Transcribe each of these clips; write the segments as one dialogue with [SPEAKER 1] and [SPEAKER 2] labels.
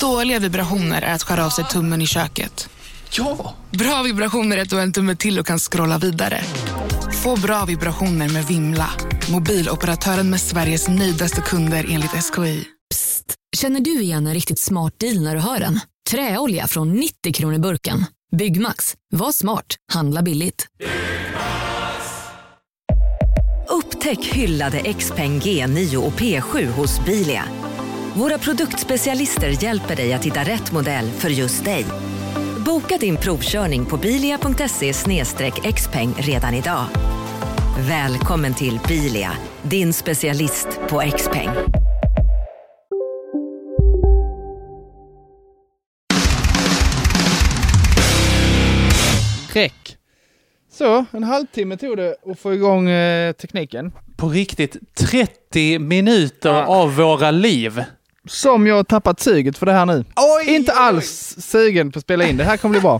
[SPEAKER 1] Dåliga vibrationer är att skära av sig tummen i köket.
[SPEAKER 2] Ja!
[SPEAKER 1] Bra vibrationer är att du har en tumme till och kan scrolla vidare. Få bra vibrationer med Vimla. Mobiloperatören med Sveriges nöjdaste kunder enligt SKI.
[SPEAKER 3] Psst! Känner du igen en riktigt smart deal när du hör den? Träolja från 90 kronor burken. Byggmax. Var smart. Handla billigt.
[SPEAKER 4] Upptäck hyllade XPeng G9 och P7 hos Bilia. Våra produktspecialister hjälper dig att hitta rätt modell för just dig. Boka din provkörning på bilia.se xpeng redan idag. Välkommen till Bilia, din specialist på X-peng.
[SPEAKER 5] Räck.
[SPEAKER 2] Så, en halvtimme tog det att få igång eh, tekniken.
[SPEAKER 5] På riktigt 30 minuter av våra liv.
[SPEAKER 2] Som jag har tappat suget för det här nu. Inte alls sugen på att spela in. Det här kommer bli bra.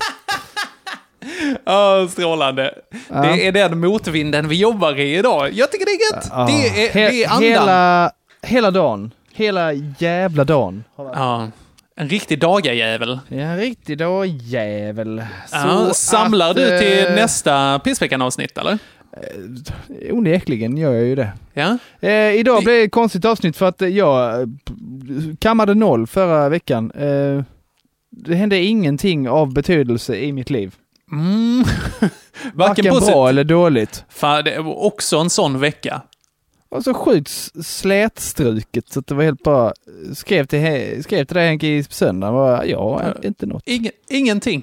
[SPEAKER 5] Ja, strålande. Det är den motvinden vi jobbar i idag. Jag tycker det är gött. Det, är, det är
[SPEAKER 2] He-
[SPEAKER 5] andan.
[SPEAKER 2] hela, hela dagen. Hela jävla dagen.
[SPEAKER 5] Ja. En riktig dagajävel.
[SPEAKER 2] Det är en riktig dagjävel.
[SPEAKER 5] Ja, samlar
[SPEAKER 2] att,
[SPEAKER 5] du till
[SPEAKER 2] eh,
[SPEAKER 5] nästa Pissveckan-avsnitt eller?
[SPEAKER 2] Onekligen gör jag ju det.
[SPEAKER 5] Ja.
[SPEAKER 2] Eh, idag
[SPEAKER 5] Det-
[SPEAKER 2] blev det ett konstigt avsnitt för att eh, jag eh, kammade noll förra veckan. Eh, det hände ingenting av betydelse i mitt liv.
[SPEAKER 5] Mm. Varken,
[SPEAKER 2] Varken
[SPEAKER 5] Varken
[SPEAKER 2] bra eller dåligt.
[SPEAKER 5] Fan, det är också en sån vecka.
[SPEAKER 2] Och så skjuts slätstruket så att det var helt bara... Skrev till, He- skrev till dig Henke i söndagen bara, ja, inte något.
[SPEAKER 5] Ingen, ingenting.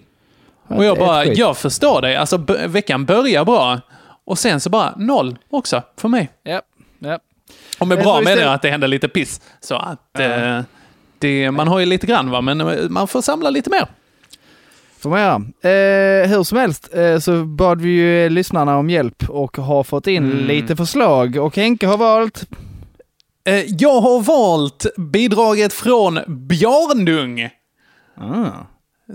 [SPEAKER 2] Inte
[SPEAKER 5] Och jag
[SPEAKER 2] ett
[SPEAKER 5] bara,
[SPEAKER 2] skit.
[SPEAKER 5] jag förstår dig. Alltså b- veckan börjar bra. Och sen så bara noll också för mig.
[SPEAKER 2] Ja, ja.
[SPEAKER 5] Om jag
[SPEAKER 2] Men
[SPEAKER 5] bra
[SPEAKER 2] så
[SPEAKER 5] menar jag
[SPEAKER 2] istället-
[SPEAKER 5] att det hände lite piss. Så att eh, det, man har ju lite grann va, men eh, man får samla lite mer.
[SPEAKER 2] Får man göra. Eh, hur som helst eh, så bad vi ju eh, lyssnarna om hjälp och har fått in lite förslag och Henke har valt
[SPEAKER 5] Eh, jag har valt bidraget från Bjarnung. Ah.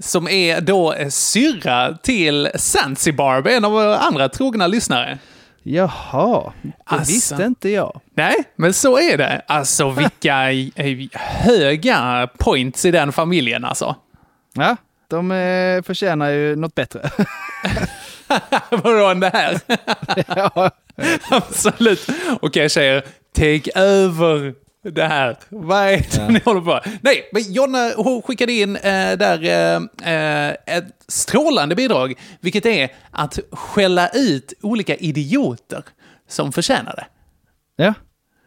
[SPEAKER 5] Som är då eh, syrra till Zanzibar, en av våra andra trogna lyssnare.
[SPEAKER 2] Jaha, det
[SPEAKER 5] Alltså.
[SPEAKER 2] visste inte jag.
[SPEAKER 5] Nej, men så är det. Alltså vilka eh, höga points i den familjen alltså.
[SPEAKER 2] Ja, de eh, förtjänar ju något bättre.
[SPEAKER 5] Vadå än det här? Absolut. Okej tjejer, take över det här. Vad är det ni håller på med? Nej, men Jonna hon skickade in eh, där eh, eh, ett strålande bidrag, vilket är att skälla ut olika idioter som förtjänar det.
[SPEAKER 2] Ja.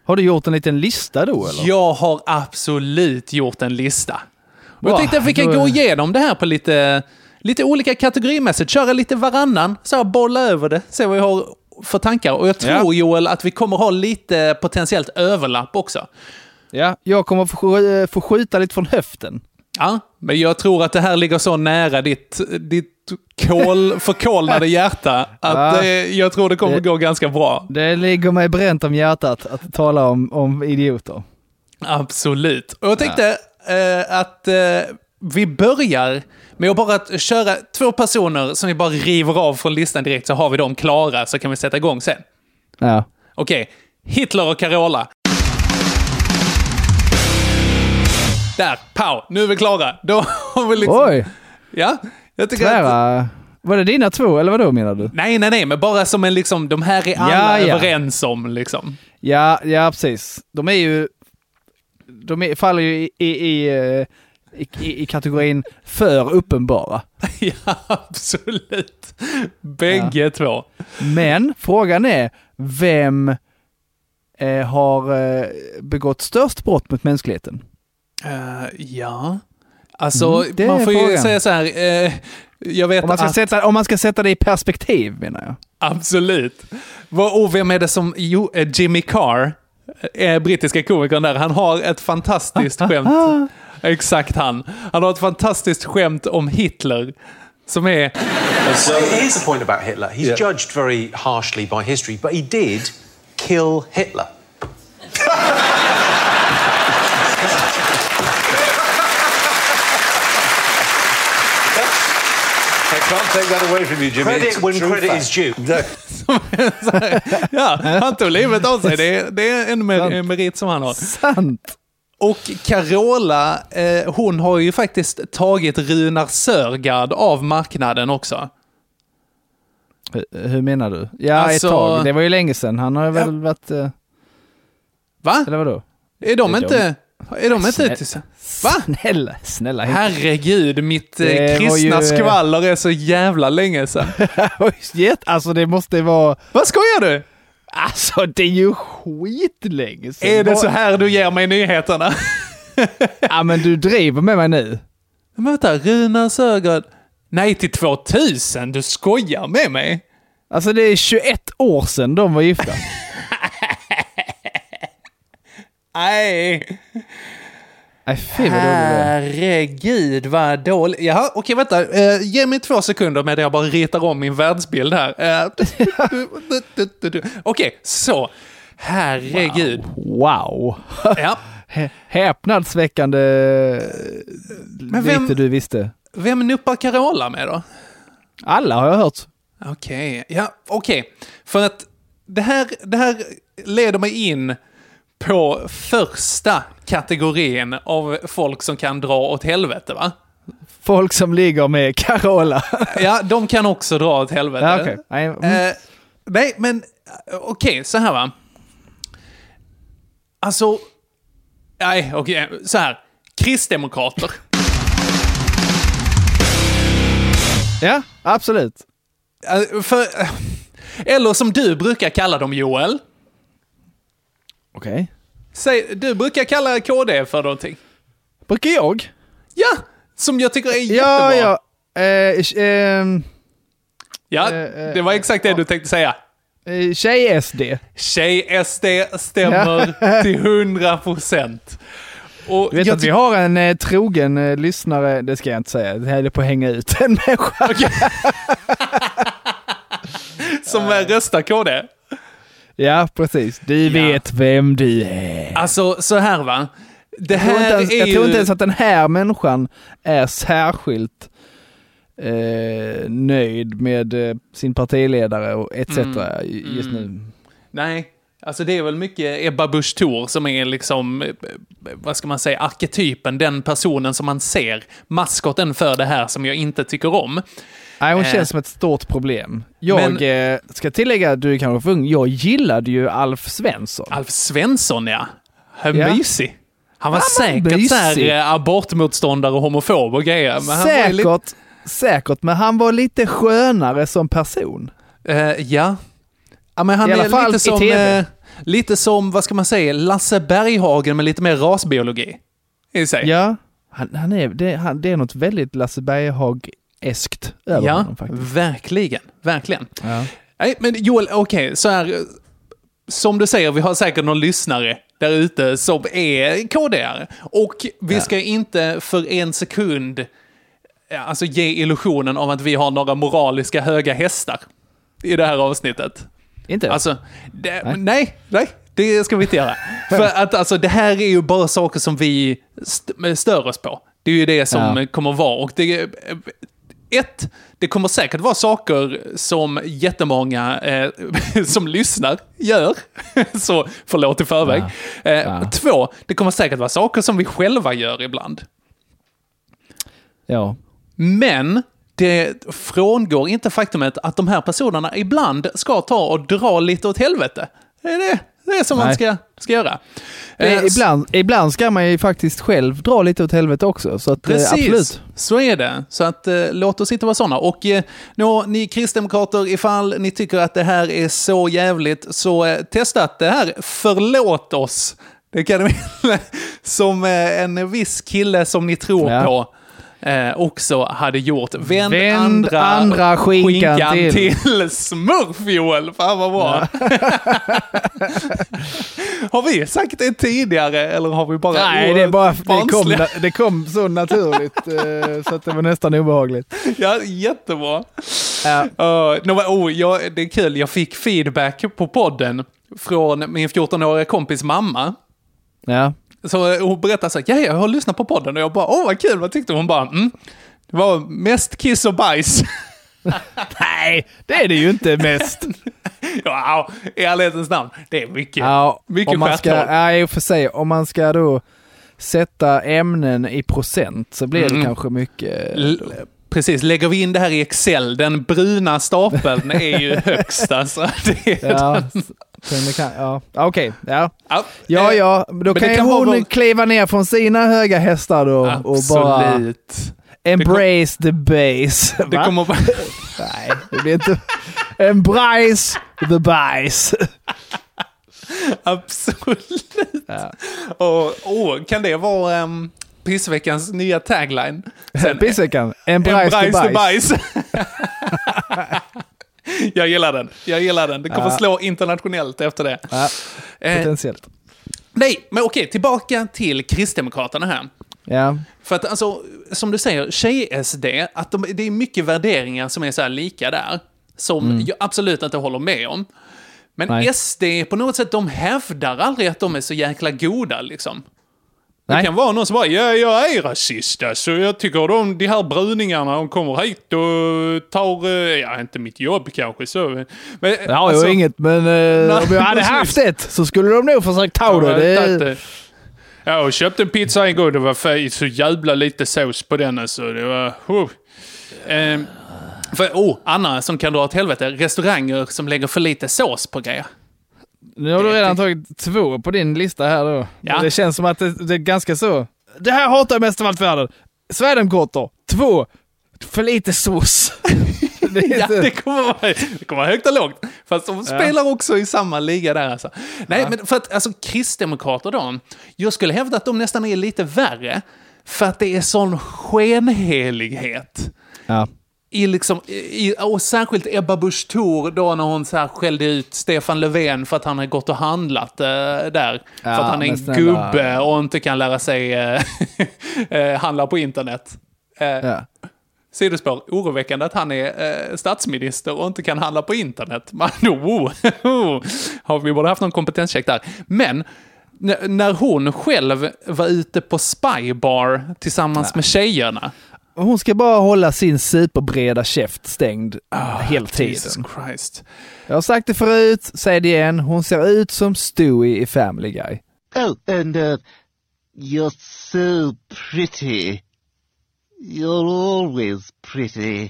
[SPEAKER 2] Har du gjort en liten lista då eller?
[SPEAKER 5] Jag har absolut gjort en lista. Och jag
[SPEAKER 2] Bra,
[SPEAKER 5] tänkte att vi kan
[SPEAKER 2] då är-
[SPEAKER 5] gå igenom det här på lite, lite olika kategorimässigt. Köra lite varannan, så här, bolla över det, se vad vi har för tankar. Och jag tror
[SPEAKER 2] Ja.
[SPEAKER 5] Joel att vi kommer ha lite potentiellt överlapp också.
[SPEAKER 2] Ja, jag kommer få, sk- eh, få skjuta lite från höften.
[SPEAKER 5] Ja, men jag tror att det här ligger så nära ditt, ditt kol, förkolnade hjärta att
[SPEAKER 2] Ja.
[SPEAKER 5] eh, jag tror det kommer gå ganska bra.
[SPEAKER 2] Det ligger mig bränt om hjärtat att tala om, om idioter.
[SPEAKER 5] Absolut. Och jag tänkte eh, att eh, vi börjar med att bara att köra två personer som vi bara river av från listan direkt så har vi dem klara så kan vi sätta igång sen.
[SPEAKER 2] Ja.
[SPEAKER 5] Okej, Hitler och Carola. Där, pow, nu är vi klara. Då har vi liksom...
[SPEAKER 2] Oj,
[SPEAKER 5] Ja, jag tycker att...
[SPEAKER 2] tvära. Var det dina två eller vad då menar du?
[SPEAKER 5] Nej, nej, nej, men bara som en liksom, de här är alla
[SPEAKER 2] Ja, ja.
[SPEAKER 5] överens om liksom.
[SPEAKER 2] Ja, ja precis. De är ju... De är, faller ju i, i, i, eh, i, i, i kategorin för uppenbara.
[SPEAKER 5] ja, absolut. Bägge två.
[SPEAKER 2] Men frågan är vem eh, har eh, begått störst brott mot mänskligheten?
[SPEAKER 5] Eh, ja. Alltså,
[SPEAKER 2] Mm, det är
[SPEAKER 5] man får ju
[SPEAKER 2] frågan.
[SPEAKER 5] säga så här. eh, jag vet
[SPEAKER 2] Om man, ska
[SPEAKER 5] att...
[SPEAKER 2] sätta, om man ska sätta det i perspektiv menar jag.
[SPEAKER 5] Absolut. Vad, och vem är det som... Jo, eh, Jimmy Carr, eh, brittiska komikern där, han har ett fantastiskt
[SPEAKER 2] Ah,
[SPEAKER 5] skämt. Exakt han. Han har ett fantastiskt skämt om Hitler. Som är...
[SPEAKER 6] Here's the point about Hitler. He's judged very harshly by history, but he did kill Hitler.
[SPEAKER 7] I can't take that away from you, Jimmy.
[SPEAKER 6] Credit when credit is due.
[SPEAKER 5] ja, han tog livet av sig. Det är, det är en mer,
[SPEAKER 2] Sant.
[SPEAKER 5] en merit som han har.
[SPEAKER 2] Sant!
[SPEAKER 5] Och Carola, eh, hon har ju faktiskt tagit Runar Sörgard av marknaden också.
[SPEAKER 2] Hur, hur menar du? Ja,
[SPEAKER 5] Alltså-
[SPEAKER 2] ett tag. Det var ju länge sedan. Han har väl varit... eh,
[SPEAKER 5] Va?
[SPEAKER 2] Eller vadå?
[SPEAKER 5] Är de
[SPEAKER 2] är
[SPEAKER 5] inte... Är de inte... Va?
[SPEAKER 2] Snälla, snälla. Henke.
[SPEAKER 5] Herregud, mitt eh,
[SPEAKER 2] Det var
[SPEAKER 5] kristna
[SPEAKER 2] ju, eh,
[SPEAKER 5] skvaller är så jävla länge sedan.
[SPEAKER 2] Oj, shit. Alltså det måste vara...
[SPEAKER 5] Vad skojar du?
[SPEAKER 2] Alltså det är ju skitlänge sedan.
[SPEAKER 5] Är det
[SPEAKER 2] Vad-
[SPEAKER 5] så här du ger mig nyheterna?
[SPEAKER 2] Ja men du driver med mig nu.
[SPEAKER 5] Men vänta, Runar Sörgard... Nej, till 2000? Du skojar med mig?
[SPEAKER 2] Alltså det är 21 år sedan de var gifta.
[SPEAKER 5] Nej.
[SPEAKER 2] Nej fy vad dålig du är.
[SPEAKER 5] Herregud vad dålig. Jaha, okej vänta. Eh, ge mig två sekunder medan jag bara ritar om min världsbild här. Eh, okej, så. Herregud.
[SPEAKER 2] Wow.
[SPEAKER 5] Ja.
[SPEAKER 2] Hä- Häpnadsväckande
[SPEAKER 5] Men
[SPEAKER 2] lite
[SPEAKER 5] vem,
[SPEAKER 2] du visste.
[SPEAKER 5] vem nuppar Carola med då?
[SPEAKER 2] Alla har jag hört.
[SPEAKER 5] Okej, ja, okej. För att det här, det här leder mig in på första kategorin av folk som kan dra åt helvete va?
[SPEAKER 2] Folk som ligger med Carola.
[SPEAKER 5] Ja, de kan också dra åt helvete.
[SPEAKER 2] ja, okej. Nej, mm.
[SPEAKER 5] Eh, nej, men eh, okej, så här va. Alltså, nej, okej, så här. Kristdemokrater.
[SPEAKER 2] Ja, absolut.
[SPEAKER 5] Eh, för, eh, eller som du brukar kalla dem, Joel.
[SPEAKER 2] Okej.
[SPEAKER 5] Säg, du brukar kalla KD för någonting.
[SPEAKER 2] Brukar jag?
[SPEAKER 5] Ja, som jag tycker är
[SPEAKER 2] Ja,
[SPEAKER 5] jättebra.
[SPEAKER 2] ja. Eh, sh- ehm,
[SPEAKER 5] Ja,
[SPEAKER 2] eh,
[SPEAKER 5] det var exakt det du tänkte säga.
[SPEAKER 2] eh, Tjej-SD.
[SPEAKER 5] Tjej-SD stämmer till 100 procent. Och
[SPEAKER 2] Du vet
[SPEAKER 5] jag
[SPEAKER 2] att vi har en eh, trogen eh, lyssnare, det ska jag inte säga, det här är på att hänga ut en människa.
[SPEAKER 5] tycker- som eh, röstar KD.
[SPEAKER 2] Ja, precis. Du vet vem du är.
[SPEAKER 5] Alltså, så här va. Det
[SPEAKER 2] Jag tror,
[SPEAKER 5] här
[SPEAKER 2] inte ens,
[SPEAKER 5] är
[SPEAKER 2] jag
[SPEAKER 5] ju...
[SPEAKER 2] tror inte ens att den här människan är särskilt eh, nöjd med eh, sin partiledare och etc.
[SPEAKER 5] Mm.
[SPEAKER 2] just nu.
[SPEAKER 5] Nej, alltså det är väl mycket Ebba Busch Thor som är liksom, eh, vad ska man säga, arketypen, den personen som man ser, maskoten för det här som jag inte tycker om.
[SPEAKER 2] Nej, hon
[SPEAKER 5] Eh.
[SPEAKER 2] känns som ett stort problem. Jag eh, ska tillägga, att du är kanske för ung, jag gillade ju Alf Svensson.
[SPEAKER 5] Alf Svensson ja, han
[SPEAKER 2] Ja.
[SPEAKER 5] mysig. Han var
[SPEAKER 2] Han var
[SPEAKER 5] säkert såhär
[SPEAKER 2] mysig.
[SPEAKER 5] eh, abortmotståndare och homofob och grejer. Men han var ju
[SPEAKER 2] säkert,
[SPEAKER 5] lite-
[SPEAKER 2] säkert, men han var lite skönare som person.
[SPEAKER 5] Eh, ja. ja men han
[SPEAKER 2] I alla
[SPEAKER 5] är
[SPEAKER 2] fall
[SPEAKER 5] lite
[SPEAKER 2] i
[SPEAKER 5] som,
[SPEAKER 2] TV.
[SPEAKER 5] eh, lite som, vad ska man säga, Lasse Berghagen med lite mer rasbiologi. I sig.
[SPEAKER 2] Ja, han, han är, det, han, det är något väldigt Lasse Berghageskt över
[SPEAKER 5] Ja,
[SPEAKER 2] honom faktiskt.
[SPEAKER 5] verkligen. Verkligen.
[SPEAKER 2] Ja.
[SPEAKER 5] Nej, men Joel, okej, så här. eh, Som du säger, vi har säkert någon lyssnare där ute som är KDR. Och vi ska inte för en sekund eh, alltså, ge illusionen av att vi har några moraliska höga hästar i det här avsnittet.
[SPEAKER 2] Inte?
[SPEAKER 5] Alltså, det, nej. nej, det ska vi inte göra. För att alltså, det här är ju bara saker som vi st- eh, stör oss på. Det är ju det som
[SPEAKER 2] Ja.
[SPEAKER 5] eh, kommer att vara. Och det, eh, ett, det kommer säkert vara saker som jättemånga eh, som lyssnar gör. Så förlåt i förväg. Eh, Två, det kommer säkert vara saker som vi själva gör ibland.
[SPEAKER 2] ja.
[SPEAKER 5] Men det frångår inte faktumet att de här personerna ibland ska ta och dra lite åt helvete. Det är det, det, är som man
[SPEAKER 2] Nej.
[SPEAKER 5] ska, ska göra. Eh,
[SPEAKER 2] Eh,
[SPEAKER 5] s-
[SPEAKER 2] ibland, ibland ska man ju faktiskt själv dra lite åt helvete också, så att, eh,
[SPEAKER 5] Precis,
[SPEAKER 2] absolut.
[SPEAKER 5] så är det. Så att, eh, låt oss inte vara sådana. Och eh, nå, ni kristdemokrater, ifall ni tycker att det här är så jävligt, så eh, testa att det här. Förlåt oss! Det kan ni som eh, en viss kille som ni tror
[SPEAKER 2] Ja.
[SPEAKER 5] på eh, också hade gjort. Vänd,
[SPEAKER 2] Vänd
[SPEAKER 5] andra,
[SPEAKER 2] andra skinkan till.
[SPEAKER 5] till smurf, Joel! Fan vad bra! har vi sagt det tidigare eller har vi bara...
[SPEAKER 2] Nej, det, är bara, det, kom,
[SPEAKER 5] barnsliga-
[SPEAKER 2] na- det kom så naturligt eh, så att det var nästan obehagligt.
[SPEAKER 5] Ja, jättebra.
[SPEAKER 2] Ja.
[SPEAKER 5] Uh, no, oh, jag, det är kul, jag fick feedback på podden från min 14-åriga kompis mamma.
[SPEAKER 2] Ja.
[SPEAKER 5] Så eh, hon berättade så här, ja, jag har lyssnat på podden och jag bara, åh vad kul, vad tyckte du? Hon bara, mm, det var mest kiss och bajs.
[SPEAKER 2] Nej, det är det ju inte mest.
[SPEAKER 5] ja, i ärlighetens namn, det är mycket, mycket
[SPEAKER 2] om man ska,
[SPEAKER 5] stjärthål.
[SPEAKER 2] Nej, i och för sig, om man ska då sätta ämnen i procent så blir det
[SPEAKER 5] Mm.
[SPEAKER 2] kanske mycket.
[SPEAKER 5] L- Precis, lägger vi in det här i Excel, den bruna stapeln är ju högst alltså. Det är
[SPEAKER 2] Ja, sen det kan, ja. Ja, okej, ja.
[SPEAKER 5] Ja,
[SPEAKER 2] Ja,
[SPEAKER 5] eh,
[SPEAKER 2] ja, då
[SPEAKER 5] det
[SPEAKER 2] kan ju
[SPEAKER 5] kan vara
[SPEAKER 2] hon
[SPEAKER 5] vår-
[SPEAKER 2] kliva ner från sina höga hästar då och bara
[SPEAKER 5] Absolut.
[SPEAKER 2] embrace the base.
[SPEAKER 5] Det
[SPEAKER 2] Va?
[SPEAKER 5] kommer vara...
[SPEAKER 2] Nej, det blir inte... embrace the bajs.
[SPEAKER 5] Absolut. Och, åh, kan det vara um, pissveckans nya tagline? Sen, eh,
[SPEAKER 2] Pissveckan, embrace the
[SPEAKER 5] Embrace the
[SPEAKER 2] bajs.
[SPEAKER 5] bajs. Jag gillar den. Jag gillar den. Det kommer slå internationellt efter det.
[SPEAKER 2] Ja,
[SPEAKER 5] Eh,
[SPEAKER 2] potentiellt.
[SPEAKER 5] nej, men okej, tillbaka till Kristdemokraterna här.
[SPEAKER 2] Ja.
[SPEAKER 5] För att alltså, som du säger, tjej-SD, att de, det är mycket värderingar som är så här lika där. Som jag absolut inte håller med om. Men
[SPEAKER 2] Mm. Nej.
[SPEAKER 5] SD, på något sätt, de hävdar aldrig att de är så jäkla goda liksom. Det
[SPEAKER 2] Nej.
[SPEAKER 5] kan vara någon som bara, ja, jag är rasist, så jag tycker de, de här bruningarna, de kommer hit och tar, eh, ja, inte mitt jobb kanske så. Men, eh,
[SPEAKER 2] Det har jag inget, men eh, om jag hade
[SPEAKER 5] precis.
[SPEAKER 2] haft ett så skulle de nog försökt ta
[SPEAKER 5] Ja,
[SPEAKER 2] det. det.
[SPEAKER 5] jag vet inte. Ja, och köpte en pizza en gång. Det var fe- så jävla lite sås på den alltså. Det var... Oh. Ehm, för, oh, Anna som kan dra åt helvete. Restauranger som lägger för lite sås på grejer.
[SPEAKER 2] Nu har du redan tagit två på din lista här då.
[SPEAKER 5] Ja.
[SPEAKER 2] Det känns som att det, det är ganska så. Det här hatar jag mest av allt i världen. Sverigedemokrater. Två. För lite sås. det är
[SPEAKER 5] Ja,
[SPEAKER 2] inte-
[SPEAKER 5] det kommer, vara, det kommer vara högt och lågt. Fast de spelar också i samma liga där alltså. Nej, men för att alltså kristdemokrater då. Jag skulle hävda att de nästan är lite värre. För att det är sån skenhelighet.
[SPEAKER 2] ja.
[SPEAKER 5] i liksom, i, och särskilt Ebba Busch Thor då när hon så här skällde ut Stefan Löfven för att han har gått och handlat eh, där. för att han är
[SPEAKER 2] men
[SPEAKER 5] en
[SPEAKER 2] snälla.
[SPEAKER 5] gubbe och inte kan lära sig eh, eh, handla på internet. Eh,
[SPEAKER 2] Ja.
[SPEAKER 5] Sidospår, oroväckande att han är eh, statsminister och inte kan handla på internet. Man, oh, oh, har vi borde haft någon kompetenscheck där. Men n- när hon själv var ute på Spybar tillsammans med tjejerna.
[SPEAKER 2] Hon ska bara hålla sin superbreda käft stängd hela
[SPEAKER 5] Jesus
[SPEAKER 2] tiden.
[SPEAKER 5] Christ.
[SPEAKER 2] Jag har sagt det förut, säg det igen. Hon ser ut som Stewie i Family Guy.
[SPEAKER 8] Oh, and uh, you're so pretty. You're always pretty.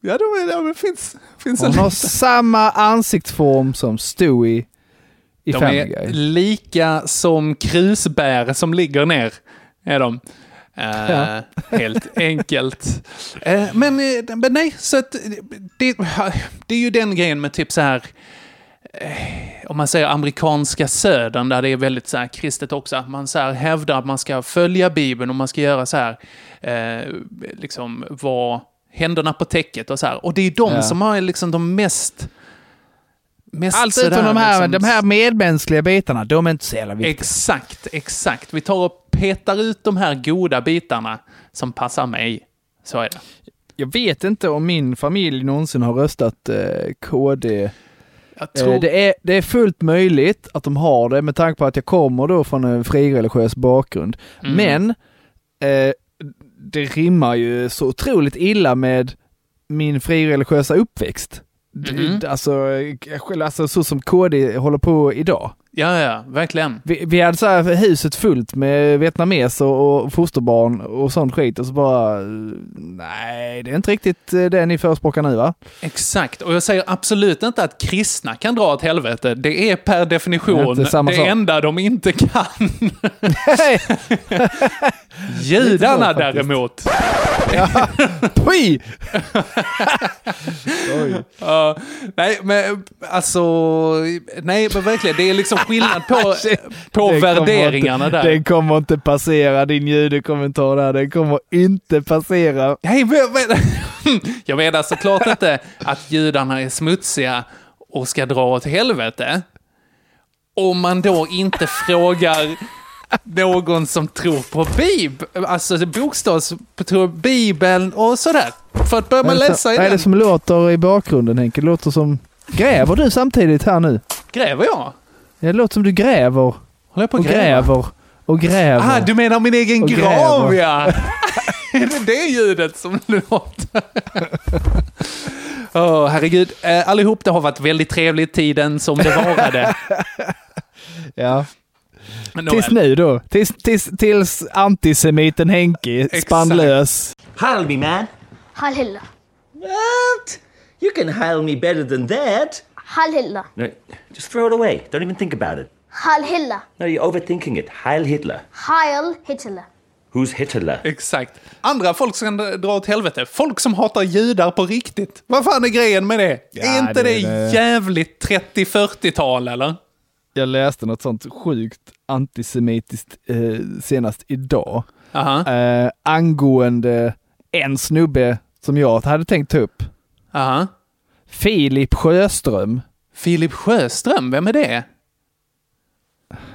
[SPEAKER 5] Ja, det, det, det finns, finns en...
[SPEAKER 2] Hon har samma ansiktsform som Stewie i
[SPEAKER 5] De
[SPEAKER 2] Family
[SPEAKER 5] är
[SPEAKER 2] Guy.
[SPEAKER 5] lika som krusbär som ligger ner. Är de. Eh, Helt enkelt. Eh, men, eh, men nej, så att det, det är ju den grejen med typ så här eh, om man säger amerikanska södern där det är väldigt så här kristet också, att man så här hävdar att man ska följa Bibeln och man ska göra så här, eh, liksom vara händerna på täcket och så här. Och det är de
[SPEAKER 2] Ja.
[SPEAKER 5] som har liksom de mest... mest
[SPEAKER 2] Allt
[SPEAKER 5] sådär
[SPEAKER 2] utom de här,
[SPEAKER 5] liksom-
[SPEAKER 2] de här medmänskliga bitarna, de är inte så jävla viktiga.
[SPEAKER 5] Exakt, exakt. Vi tar och petar ut de här goda bitarna som passar mig. Så är det.
[SPEAKER 2] Jag vet inte om min familj någonsin har röstat eh, KD.
[SPEAKER 5] Jag
[SPEAKER 2] Eh,
[SPEAKER 5] tror...
[SPEAKER 2] det, är, det är fullt möjligt att de har det med tanke på att jag kommer då från en frireligiös bakgrund.
[SPEAKER 5] Mm.
[SPEAKER 2] Men eh, det rimmar ju så otroligt illa med min frireligiösa uppväxt.
[SPEAKER 5] Mhm.
[SPEAKER 2] Mm. Alltså, eh, själv- alltså så som KD håller på idag.
[SPEAKER 5] Ja, ja, verkligen.
[SPEAKER 2] Vi, vi hade så här huset fullt med vietnameser och fosterbarn och sånt skit och så bara, eh, nej det är inte riktigt eh, det ni förespråkar nu va?
[SPEAKER 5] Exakt. Och jag säger absolut inte att kristna kan dra åt helvete. Det är per
[SPEAKER 2] Det är
[SPEAKER 5] definition
[SPEAKER 2] inte
[SPEAKER 5] det,
[SPEAKER 2] samma sak.
[SPEAKER 5] enda de inte kan.
[SPEAKER 2] Lite
[SPEAKER 5] Judarna
[SPEAKER 2] så faktiskt.
[SPEAKER 5] däremot.
[SPEAKER 2] Pui!
[SPEAKER 5] Ja, nej, men alltså... Nej, men verkligen. Det är liksom skillnad på, på
[SPEAKER 2] Det kommer
[SPEAKER 5] värderingarna
[SPEAKER 2] inte,
[SPEAKER 5] där.
[SPEAKER 2] Den kommer inte passera din judekommentar där. Den kommer inte passera.
[SPEAKER 5] Nej, men, men, jag menar såklart inte att judarna är smutsiga och ska dra åt helvete. Om man då inte frågar någon som tror på Bibeln, alltså bokstavs, tror Bibeln och sådär. För att börja man läsa i
[SPEAKER 2] Vad är det
[SPEAKER 5] den,
[SPEAKER 2] som låter i bakgrunden Henke? Det låter som... Gräver du samtidigt här nu?
[SPEAKER 5] gräver jag.
[SPEAKER 2] Det låter som du gräver
[SPEAKER 5] Håller jag på
[SPEAKER 2] och
[SPEAKER 5] att gräva?
[SPEAKER 2] gräver och gräver.
[SPEAKER 5] Ah, du menar min egen
[SPEAKER 2] Och
[SPEAKER 5] grav
[SPEAKER 2] gräver.
[SPEAKER 5] ja! är det det ljudet som låter? Åh, herregud. Eh, allihop, det har varit väldigt trevligt tiden som det varade.
[SPEAKER 2] Ja.
[SPEAKER 5] Nåväl.
[SPEAKER 2] Tills nu då. Tills, tills, tills antisemiten Henke spann
[SPEAKER 5] Exakt.
[SPEAKER 2] lös.
[SPEAKER 9] Hail me, man.
[SPEAKER 10] Halilla.
[SPEAKER 9] What? You can hail me better than that.
[SPEAKER 10] Halilla.
[SPEAKER 9] No, just throw it away. Don't even think about it.
[SPEAKER 10] Halilla.
[SPEAKER 9] No, you're overthinking it. Heil Hitler.
[SPEAKER 10] Heil Hitler.
[SPEAKER 9] Who's Hitler?
[SPEAKER 5] Exakt. Andra folk som kan dra åt helvete. Folk som hatar judar på riktigt. Vad fan är grejen med det? är inte
[SPEAKER 2] det
[SPEAKER 5] det,
[SPEAKER 2] är det.
[SPEAKER 5] jävligt 30-40-tal eller?
[SPEAKER 2] Jag läste något sånt sjukt antisemitiskt eh, senast idag.
[SPEAKER 5] Aha,
[SPEAKER 2] Eh, angående en snubbe som jag hade tänkt ta upp.
[SPEAKER 5] aha.
[SPEAKER 2] Filip Sjöström.
[SPEAKER 5] Filip Sjöström, vem är det?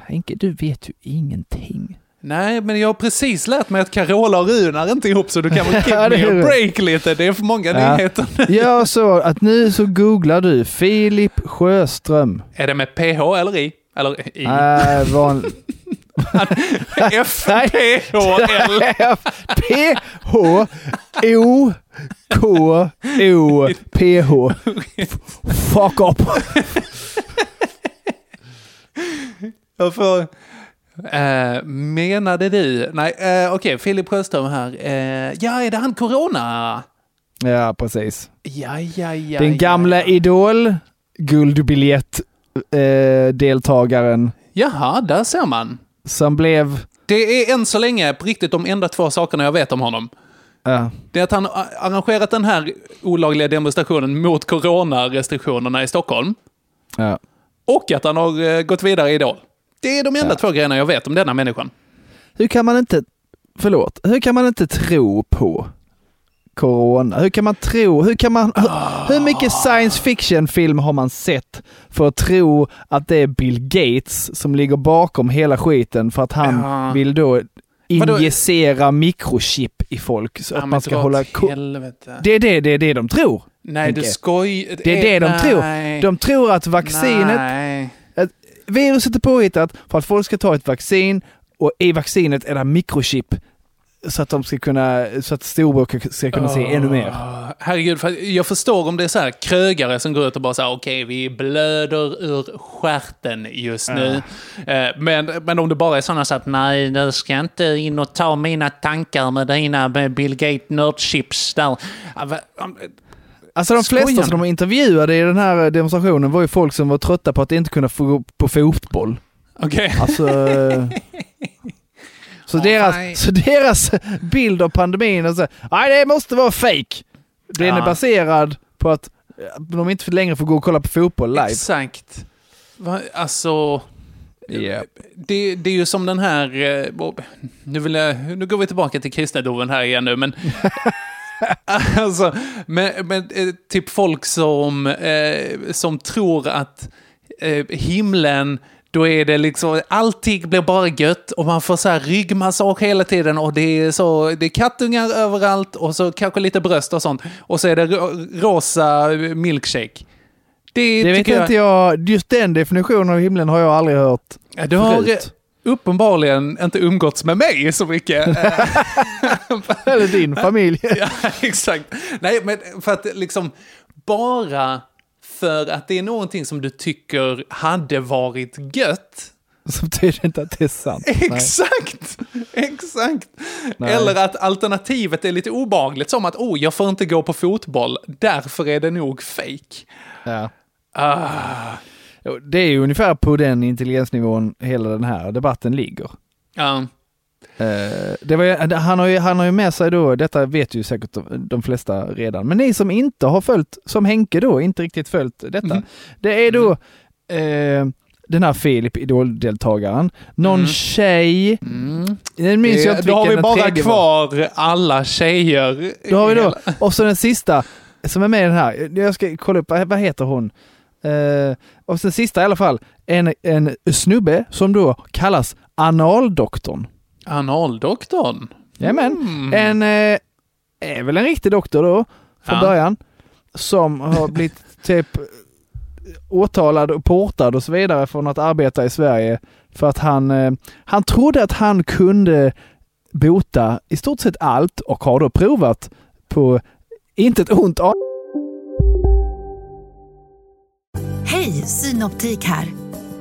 [SPEAKER 2] Henke, du vet ju ingenting.
[SPEAKER 5] Nej, men jag har precis lärt mig att Carola och Runar inte är ihop så du kan väl
[SPEAKER 2] Ja,
[SPEAKER 5] give
[SPEAKER 2] det
[SPEAKER 5] me
[SPEAKER 2] är det.
[SPEAKER 5] a break lite. Det är för många
[SPEAKER 2] Ja.
[SPEAKER 5] nyheter.
[SPEAKER 2] Jag såg att nu så googlar du Filip Sjöström.
[SPEAKER 5] Är det med PH eller I? Eller I?
[SPEAKER 2] Äh, van...
[SPEAKER 5] F, P, H, L.
[SPEAKER 2] P-H-O-K-O-P-H. Fuck up.
[SPEAKER 5] Jag får... Eh, menade du? Nej, eh, okej, Filip Sjöström här. Eh, ja, är det han Corona?
[SPEAKER 2] Ja, precis.
[SPEAKER 5] Ja, ja, ja.
[SPEAKER 2] Den gamla Idol, guldbiljett, eh, deltagaren
[SPEAKER 5] Ja. Jaha, där ser man.
[SPEAKER 2] som blev...
[SPEAKER 5] Det är än så länge på riktigt de enda två sakerna jag vet om honom.
[SPEAKER 2] Ja.
[SPEAKER 5] Det är att han har arrangerat den här olagliga demonstrationen mot coronarestriktionerna i Stockholm.
[SPEAKER 2] ja.
[SPEAKER 5] Och att han har eh, gått vidare i Idol. Det är de enda två grejerna jag vet om denna människan.
[SPEAKER 2] Hur kan man inte... Förlåt. Hur kan man inte tro på corona? Hur kan man tro... Hur, kan man, hur, hur mycket science fiction-film har man sett för att tro att det är Bill Gates som ligger bakom hela skiten för att han
[SPEAKER 5] Ja.
[SPEAKER 2] vill då
[SPEAKER 5] Vadå?
[SPEAKER 2] injicera mikrochip i folk så att man ska hålla... ko-
[SPEAKER 5] Helvete.
[SPEAKER 2] Det är det, det är det de tror.
[SPEAKER 5] Nej, du
[SPEAKER 2] Henke.
[SPEAKER 5] skoj... Eh,
[SPEAKER 2] Det är det de
[SPEAKER 5] Nej.
[SPEAKER 2] tror. De tror att vaccinet
[SPEAKER 5] Nej.
[SPEAKER 2] att viruset är påhittat för att folk ska ta ett vaccin och i vaccinet är det mikrochip så att de ska kunna, så att storbror ska- ska kunna se ännu mer.
[SPEAKER 5] Herregud, för jag förstår om det är så här krögare som går ut och bara så här, okej, vi blöder ur stjärten just nu. Eh, Men, men om det bara är sådana så att, nej, du ska inte in och ta mina tankar med dina med Bill Gates nördchips där. Ja, va-
[SPEAKER 2] Alltså de
[SPEAKER 5] Skojar
[SPEAKER 2] flesta
[SPEAKER 5] ni?
[SPEAKER 2] som de intervjuade i den här demonstrationen var ju folk som var trötta på att inte kunna få gå på fotboll.
[SPEAKER 5] Okej.
[SPEAKER 2] Alltså... eh, så,
[SPEAKER 5] Åh, nej.
[SPEAKER 2] deras, så deras bild av pandemin, och så, nej det måste vara fake. Den
[SPEAKER 5] Ja.
[SPEAKER 2] är baserad på att eh, de inte längre får gå och kolla på fotboll live.
[SPEAKER 5] Exakt. Va, alltså... Det, det är ju som den här... eh, bo- Nu, vill jag, nu går vi tillbaka till kristendomen här igen nu, men... alltså, men, men eh, typ folk som, eh, som tror att eh, himlen, då är det liksom, allting blir bara gött och man får så här ryggmassage hela tiden och det är, så, det är kattungar överallt och så kanske lite bröst och sånt. Och så är det ro- rosa milkshake. Det,
[SPEAKER 2] Det vet
[SPEAKER 5] tycker
[SPEAKER 2] inte jag. Just den definitionen av himlen har jag aldrig hört.
[SPEAKER 5] Ja, Du har eh,
[SPEAKER 2] förut.
[SPEAKER 5] uppenbarligen inte umgåtts med mig så mycket. Eh,
[SPEAKER 2] Eller din familj.
[SPEAKER 5] ja, exakt. Nej, men för att liksom bara för att det är någonting som du tycker hade varit gött.
[SPEAKER 2] Som tyder inte att det är sant. Nej.
[SPEAKER 5] Exakt! Exakt!
[SPEAKER 2] Nej.
[SPEAKER 5] Eller att alternativet är lite obagligt som att oh, jag får inte gå på fotboll, därför är det nog fake.
[SPEAKER 2] Ja. Jo, Det är ju ungefär på den intelligensnivån hela den här debatten ligger.
[SPEAKER 5] Ja.
[SPEAKER 2] Eh, Det var, ju- han, har ju, han har ju med sig då, detta vet ju säkert de- de flesta redan, men ni som inte har följt, som Henke då, inte riktigt följt detta.
[SPEAKER 5] Mhm.
[SPEAKER 2] Det är då eh, den här Filip, Idol-deltagaren, någon tjej, nu minns
[SPEAKER 5] Mhm. Mm.
[SPEAKER 2] jag inte
[SPEAKER 5] Eh, Då har vi
[SPEAKER 2] vilken den
[SPEAKER 5] bara
[SPEAKER 2] tredje var.
[SPEAKER 5] kvar alla tjejer.
[SPEAKER 2] Då har vi då, och så den sista som är med i den här. Jag ska kolla upp, vad heter hon? Eh, och sen sista i alla fall, en, en snubbe som då kallas analdoktorn.
[SPEAKER 5] Analdoktorn.
[SPEAKER 2] Jajamän. En, eh, är väl en riktig doktor då, från
[SPEAKER 5] Ja.
[SPEAKER 2] början, som har blivit typ åtalad och portad och så vidare från att arbeta i Sverige för att han, eh, han trodde att han kunde bota i stort sett allt och har då provat på inte ett ont a-
[SPEAKER 11] Hej, Synoptik här.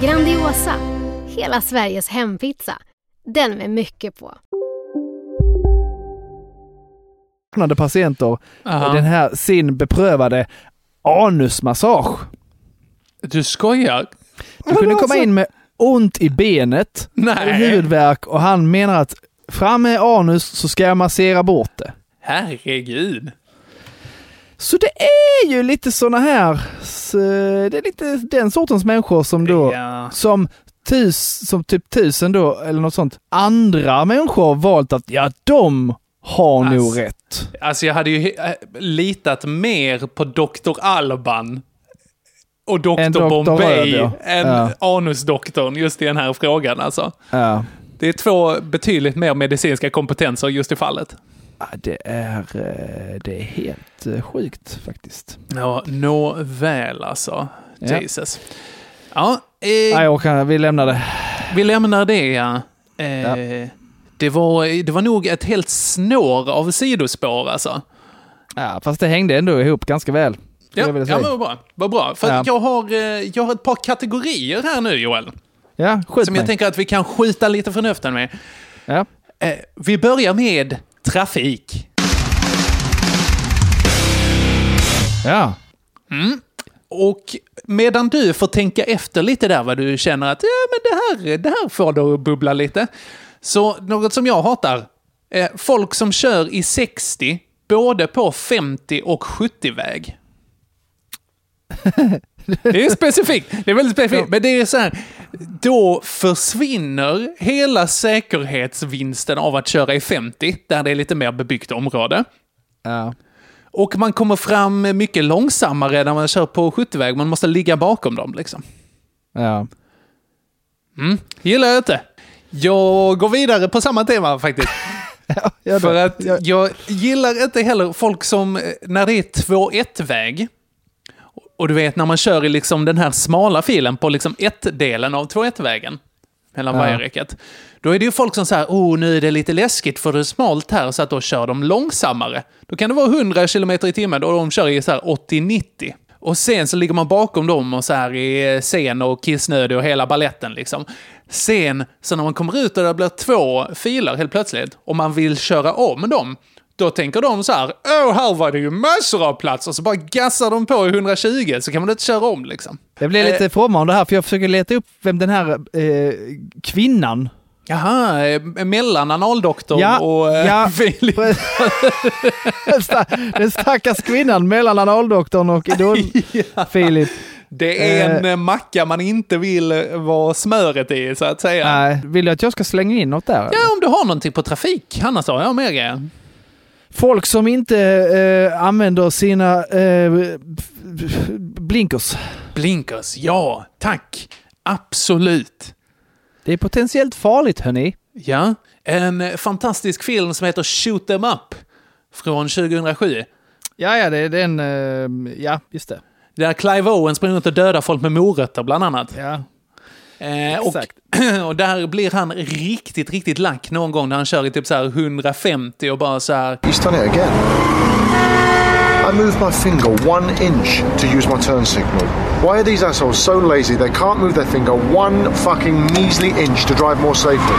[SPEAKER 12] Grandiosa, hela Sveriges hempizza. Den med mycket på.
[SPEAKER 2] öppnade patienter den här sin beprövade anusmassage.
[SPEAKER 5] Du skojar?
[SPEAKER 2] Du kunde
[SPEAKER 5] alltså-
[SPEAKER 2] komma in med ont i benet, eller huvudvärk och han menar att fram med anus så ska jag massera bort det.
[SPEAKER 5] Herregud.
[SPEAKER 2] Så det är ju lite såna här, så det är lite den sortens människor som då, som, tus, som typ tusen då, eller något sånt, andra människor har valt att, ja de har nog rätt.
[SPEAKER 5] Alltså jag hade ju he- äh, litat mer på Dr. Alban och Dr.
[SPEAKER 2] Än Dr.
[SPEAKER 5] Bombay
[SPEAKER 2] Röd, ja.
[SPEAKER 5] än
[SPEAKER 2] Ja.
[SPEAKER 5] anusdoktorn just i den här frågan alltså.
[SPEAKER 2] Ja.
[SPEAKER 5] Det är två betydligt mer medicinska kompetenser just i fallet.
[SPEAKER 2] Ja, Det är, eh, det är helt eh, sjukt faktiskt.
[SPEAKER 5] Ja, nåväl alltså.
[SPEAKER 2] Ja.
[SPEAKER 5] Jesus. Ja, eh,
[SPEAKER 2] Nej, jag orkar, vi lämnar det.
[SPEAKER 5] Vi lämnar det, ja. Eh, Det, var, det var nog ett helt snår av sidospår alltså.
[SPEAKER 2] Ja, fast det hängde ändå ihop ganska väl. skulle
[SPEAKER 5] Ja,
[SPEAKER 2] jag
[SPEAKER 5] ja
[SPEAKER 2] vilja
[SPEAKER 5] men
[SPEAKER 2] säga.
[SPEAKER 5] vad bra. Vad bra. För att
[SPEAKER 2] Ja.
[SPEAKER 5] jag, har, eh, jag har ett par kategorier här nu, Joel.
[SPEAKER 2] Ja, skjut
[SPEAKER 5] som
[SPEAKER 2] mig.
[SPEAKER 5] jag tänker att vi kan skjuta lite från höften med. Eh, vi börjar med trafik.
[SPEAKER 2] Ja.
[SPEAKER 5] Mm. Och medan du får tänka efter lite där vad du känner att ja, men det, här, det här får du att bubbla lite. Så något som jag hatar, eh, folk som kör i 60 både på 50 och 70-väg. Det är specifikt. Det är väldigt specifikt. Men det är så här, då försvinner hela säkerhetsvinsten av att köra i 50, där det är lite mer bebyggt område. Och man kommer fram mycket långsammare när man kör på 70-väg. Man måste ligga bakom dem liksom.
[SPEAKER 2] Ja.
[SPEAKER 5] Mm. Gillar jag inte. Jag går vidare på samma tema faktiskt. För att jag gillar inte heller folk som, eh, när det är 2-1-väg, och du vet när man kör i liksom den här smala filen på liksom 1-delen av 2-1-vägen, mellan
[SPEAKER 2] Ja.
[SPEAKER 5] vajerräcket, då är det ju folk som säger oh nu är det lite läskigt för det är smalt här, så att då kör de långsammare. Då kan det vara 100 km i timmen och de kör i så här 80-90. Och sen så ligger man bakom dem och så här i sen och kissnödig och hela balletten liksom. Sen, så när man kommer ut och det blir två filer helt plötsligt och man vill köra om dem, då tänker de så här, åh här var det ju massor av plats och så bara gassar de på i 120 så kan man inte köra om liksom.
[SPEAKER 2] Jag blev lite
[SPEAKER 5] Eh.
[SPEAKER 2] frånvarande om det här för jag försöker leta upp vem den här eh, kvinnan...
[SPEAKER 5] Jaha, eh, mellan analdoktorn
[SPEAKER 2] Ja,
[SPEAKER 5] och eh,
[SPEAKER 2] ja.
[SPEAKER 5] Filip.
[SPEAKER 2] Den sta- den stackars kvinnan mellan analdoktorn och Idol-Filip.
[SPEAKER 5] Det är en eh, macka man inte vill eh, vara smöret i så att säga.
[SPEAKER 2] Nej, vill du att jag ska slänga in något där? eller?
[SPEAKER 5] Ja, om du har någonting på trafik, annars har jag mer grejer.
[SPEAKER 2] Folk som inte eh, använder sina eh, blinkers.
[SPEAKER 5] Blinkers, ja, tack. Absolut.
[SPEAKER 2] Det är potentiellt farligt hörni.
[SPEAKER 5] Ja, en eh, fantastisk film som heter Shoot 'em up från 2007.
[SPEAKER 2] Ja, ja, det är den... Eh, ja, just det.
[SPEAKER 5] Där Clive Owen springer runt och dödar folk med morötter bland annat.
[SPEAKER 2] Ja.
[SPEAKER 5] Eh, och, och där blir han riktigt, riktigt lack någon gång när han kör i typ så här 150 och bara så här...
[SPEAKER 13] He's done it again. I moved my finger one inch to use my turn signal. Why are these assholes so lazy they can't move their finger one fucking measly inch to drive more safely?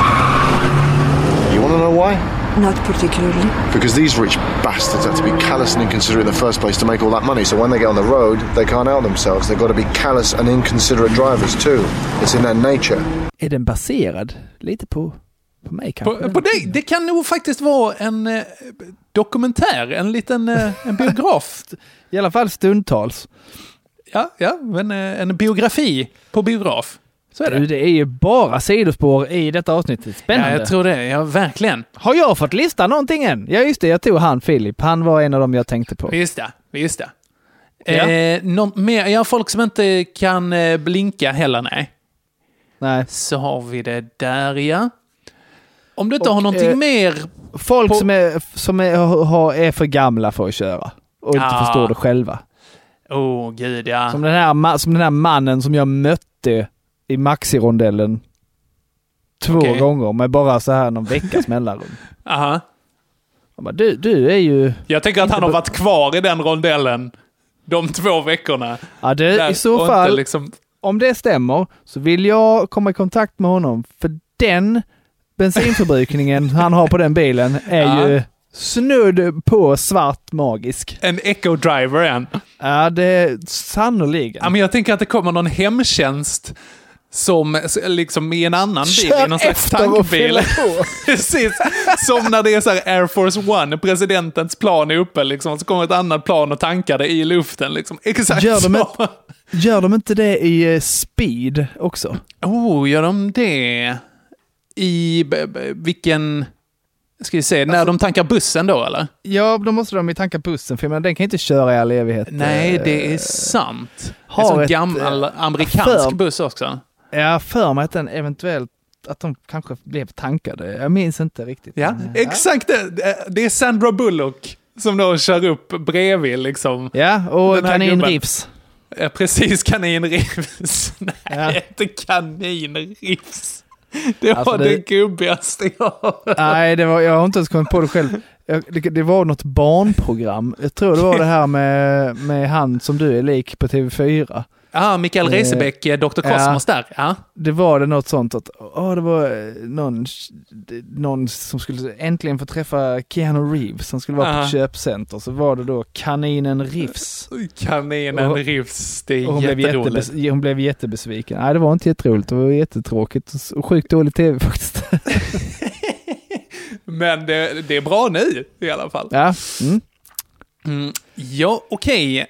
[SPEAKER 13] You wanna know why?
[SPEAKER 14] Not particularly.
[SPEAKER 13] Because these rich bastards have to be callous and inconsiderate in the first place to make all that money, so when they get on the road, they can't out themselves. They've got to be callous and inconsiderate drivers too. It's in their nature.
[SPEAKER 2] Är den baserad lite på, på mig kanske?
[SPEAKER 5] På, på dig! Det kan nog faktiskt vara en eh, dokumentär, en liten eh, en biograf.
[SPEAKER 2] I alla fall stundtals.
[SPEAKER 5] Ja, ja men eh, en biografi på biograf. Så är det.
[SPEAKER 2] Du, det är ju bara sidospår i detta avsnittet. Spännande.
[SPEAKER 5] Ja, jag tror det. Ja, verkligen.
[SPEAKER 2] Har jag fått lista någonting än? Ja, just det. Jag tog han Filip. Han var en av dem jag tänkte på.
[SPEAKER 5] Just det. Just det.
[SPEAKER 2] Ja.
[SPEAKER 5] Eh, någon mer? Ja, folk som inte kan eh, blinka heller, nej.
[SPEAKER 2] Nej.
[SPEAKER 5] Så har vi det där, ja. Om du inte har
[SPEAKER 2] Och,
[SPEAKER 5] någonting
[SPEAKER 2] eh,
[SPEAKER 5] mer...
[SPEAKER 2] Folk
[SPEAKER 5] på-
[SPEAKER 2] som, är, som är, har- är för gamla för att köra och inte
[SPEAKER 5] Ah.
[SPEAKER 2] förstår det själva.
[SPEAKER 5] Åh, oh, gud ja.
[SPEAKER 2] Som den, här, ma- som den här mannen som jag mötte i Maxi-rondellen två
[SPEAKER 5] Okej.
[SPEAKER 2] gånger med bara så här någon veckas mellanrum.
[SPEAKER 5] Aha.
[SPEAKER 2] Jag bara, du, du är ju...
[SPEAKER 5] Jag tänker att han har varit kvar i den rondellen de två veckorna.
[SPEAKER 2] Ja, det,
[SPEAKER 5] Där,
[SPEAKER 2] Eh, i så
[SPEAKER 5] och inte
[SPEAKER 2] fall,
[SPEAKER 5] Liksom,
[SPEAKER 2] om det stämmer, så vill jag komma i kontakt med honom för den bensinförbrukningen han har på den bilen är
[SPEAKER 5] Ja.
[SPEAKER 2] ju snudd på svart magisk.
[SPEAKER 5] en eco-driver än.
[SPEAKER 2] Ja, det sannoliken.
[SPEAKER 5] Ja, men jag tänker att det kommer någon hemtjänst som s- liksom i en annan bil,
[SPEAKER 2] Kör
[SPEAKER 5] i någon slags
[SPEAKER 2] efter och
[SPEAKER 5] tankbil.
[SPEAKER 2] fyller på.
[SPEAKER 5] Precis, som när det är så här Air Force One, presidentens plan är uppe liksom, och så kommer ett annat plan och tankar det i luften. Liksom. Exakt
[SPEAKER 2] Gör
[SPEAKER 5] så.
[SPEAKER 2] de ett- Gör de inte det i eh, speed också?
[SPEAKER 5] Oh, gör de det? I b- b- vilken... Ska vi se, när
[SPEAKER 2] Alltså-
[SPEAKER 5] de tankar bussen då eller?
[SPEAKER 2] Ja, då måste de ju tanka bussen, för jag menar, den kan inte köra i all evighet.
[SPEAKER 5] Nej,
[SPEAKER 2] Eh,
[SPEAKER 5] det är sant. Det
[SPEAKER 2] har
[SPEAKER 5] är som
[SPEAKER 2] ett, eh,
[SPEAKER 5] gammal amerikansk
[SPEAKER 2] för-
[SPEAKER 5] buss också.
[SPEAKER 2] Jag har för mig att den eventuellt, att de kanske blev tankade. Jag minns inte riktigt.
[SPEAKER 5] Ja,
[SPEAKER 2] Men, eh,
[SPEAKER 5] exakt det. Det är Sandra Bullock som då kör upp bredvid liksom.
[SPEAKER 2] Ja, och
[SPEAKER 5] Den här gubben.
[SPEAKER 2] kaninrifs.
[SPEAKER 5] Eh, Precis kaninrivs. Nej, inte kaninrivs. Det var
[SPEAKER 2] Alltså,
[SPEAKER 5] det...
[SPEAKER 2] det-
[SPEAKER 5] gubbigaste jag har
[SPEAKER 2] Nej, det var, jag har inte ens kommit på det själv. Jag, det, det var något barnprogram. Jag tror det var det här med, med han som du är lik på TV4.
[SPEAKER 5] Ja, Mikael
[SPEAKER 2] Eh,
[SPEAKER 5] Reisebäck, eh, Dr. Cosmos där. Ja.
[SPEAKER 2] Det var det något sånt att, åh, det var eh, någon, någon som skulle äntligen få träffa Keanu Reeves som skulle vara på
[SPEAKER 5] Ja.
[SPEAKER 2] ett köpcenter. Så var det då kaninen Riffs.
[SPEAKER 5] Kaninen
[SPEAKER 2] Och-
[SPEAKER 5] rivs, det
[SPEAKER 2] Och hon,
[SPEAKER 5] är
[SPEAKER 2] blev
[SPEAKER 5] jätteroligt.
[SPEAKER 2] jättebes- hon blev jättebesviken. Nej, det var inte jätteroligt. Det var jättetråkigt och sjukt dålig tv faktiskt.
[SPEAKER 5] Men det, det är bra nu i alla fall.
[SPEAKER 2] ja. Mm.
[SPEAKER 5] Mm, ja, okej.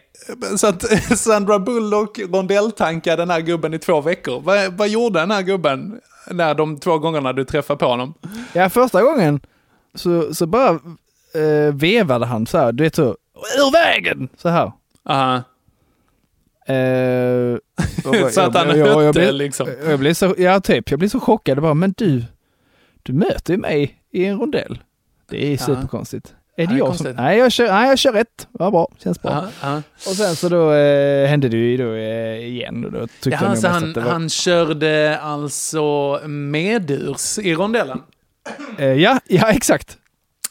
[SPEAKER 5] Så att Sandra Bullock rondelltankade den här gubben i två veckor. Vad, vad gjorde den här gubben när de två gångerna du träffade på honom?
[SPEAKER 2] Ja, första gången så, så bara eh, vevade han så här, du vet så, ur vägen! Så här.
[SPEAKER 5] Aha.
[SPEAKER 2] Eh, och bara-
[SPEAKER 5] Så att han
[SPEAKER 2] jag- jag- jag
[SPEAKER 5] hötte
[SPEAKER 2] blev-
[SPEAKER 5] liksom.
[SPEAKER 2] Jag blev så, ja typ, jag blev så chockad och bara, men du, du möter ju mig i en rondell. Det är
[SPEAKER 5] Ja.
[SPEAKER 2] superkonstigt. Är
[SPEAKER 5] Ja,
[SPEAKER 2] det
[SPEAKER 5] det är
[SPEAKER 2] jag som,
[SPEAKER 5] konstigt.
[SPEAKER 2] nej jag, kör, nej jag kör rätt, vad bra, känns bra.
[SPEAKER 5] Aha, aha.
[SPEAKER 2] Och sen så då eh, hände det ju då eh, igen och då tyckte
[SPEAKER 5] Ja,
[SPEAKER 2] jag nog
[SPEAKER 5] alltså
[SPEAKER 2] mest
[SPEAKER 5] han,
[SPEAKER 2] att det var...
[SPEAKER 5] han körde alltså medurs i rondellen.
[SPEAKER 2] Eh, ja, ja exakt.